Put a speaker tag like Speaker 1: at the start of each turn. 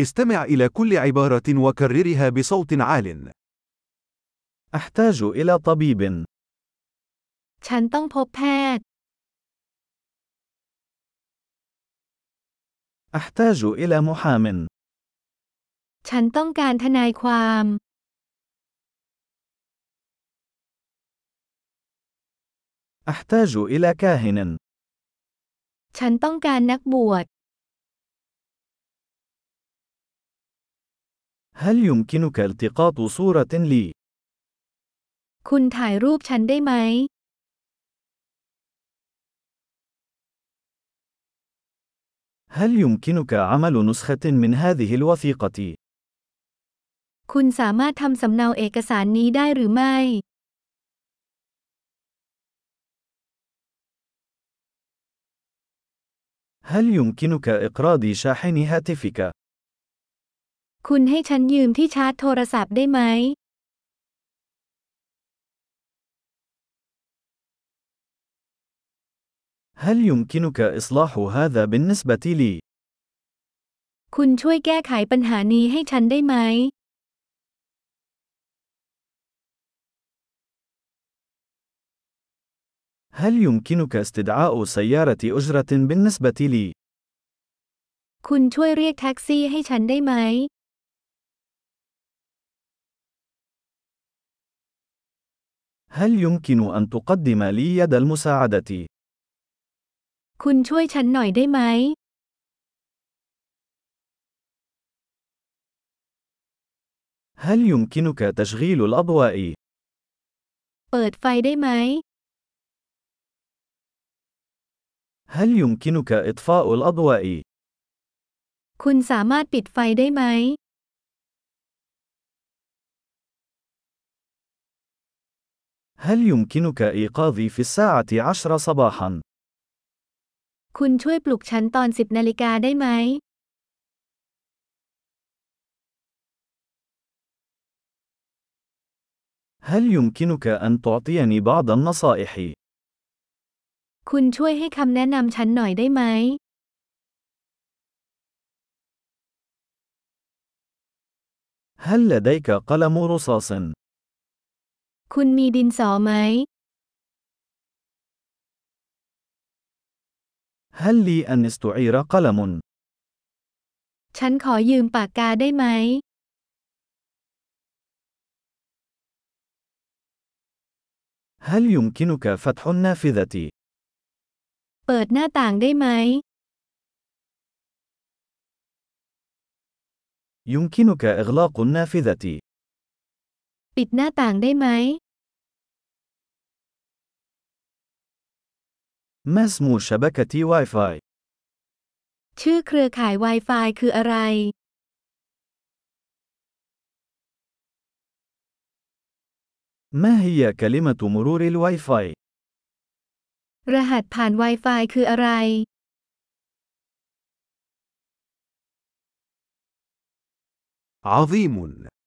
Speaker 1: استمع إلى كل عبارة وكررها بصوت عال.
Speaker 2: أحتاج إلى طبيب.
Speaker 3: ฉันต้องพบแพทย์
Speaker 2: أحتاج إلى محام.
Speaker 3: ฉันต้องการทนายความ
Speaker 2: أحتاج إلى كاهن.
Speaker 3: ฉันต้องการนักบวช
Speaker 2: هل يمكنك التقاط صورة لي؟
Speaker 3: คุณถ่ายรูปฉันได้ไหม
Speaker 2: هل يمكنك عمل نسخة من هذه الوثيقة؟
Speaker 3: คุณสามารถทำสำเนาเอกสารนี้ได้หรือไม่
Speaker 2: هل يمكنك إقراض شاحن هاتفك؟
Speaker 3: คุณให้ฉันยืมที่ชาร์จโทรศัพท์ได้ไหม
Speaker 2: هل يمكنك إصلاح هذا بالنسبة لي؟
Speaker 3: คุณช่วยแก้ไขปัญหานี้ให้ฉันได้ไหม
Speaker 2: هل يمكنك استدعاء سيارة أجرة بالنسبة لي؟
Speaker 3: คุณช่วยเรียกแท็กซี่ให้ฉันได้ไหม
Speaker 2: هل يمكن أن تقدم لي يد المساعدة؟
Speaker 3: คุณช่วยฉันหน่อยได้ไหม
Speaker 2: هل يمكنك تشغيل الأضواء؟
Speaker 3: เปิดไฟได้ไหม
Speaker 2: هل يمكنك إطفاء الأضواء؟
Speaker 3: คุณสามารถปิดไฟได้ไหม
Speaker 2: هل يمكنك إيقاظي في الساعة عشر صباحا؟
Speaker 3: คุณช่วยปลุกฉันตอน 10นาฬิกาได้ไหม
Speaker 2: هل يمكنك أن تعطيني بعض النصائح؟
Speaker 3: คุณช่วยให้คำแนะนำฉันหน่อยได้ไหม
Speaker 2: هل لديك قلم رصاص؟
Speaker 3: คุณมีดินสอไหม
Speaker 2: هل لي أن استعير قلم؟
Speaker 3: ฉันขอยืมปากกาได้ไหม
Speaker 2: هل يمكنك فتح النافذة؟
Speaker 3: เปิดหน้าต่างได้ไหม
Speaker 2: يمكنك إغلاق النافذة.
Speaker 3: ปิดหน้าต่างได้ไหม
Speaker 2: ما اسم شبكة واي فاي؟
Speaker 3: ชื่อเครือข่าย Wi-Fi คืออะไร
Speaker 2: ما هي كلمة مرور الواي فاي؟
Speaker 3: รหัสผ่าน Wi-Fi คืออะไร
Speaker 1: عظيم!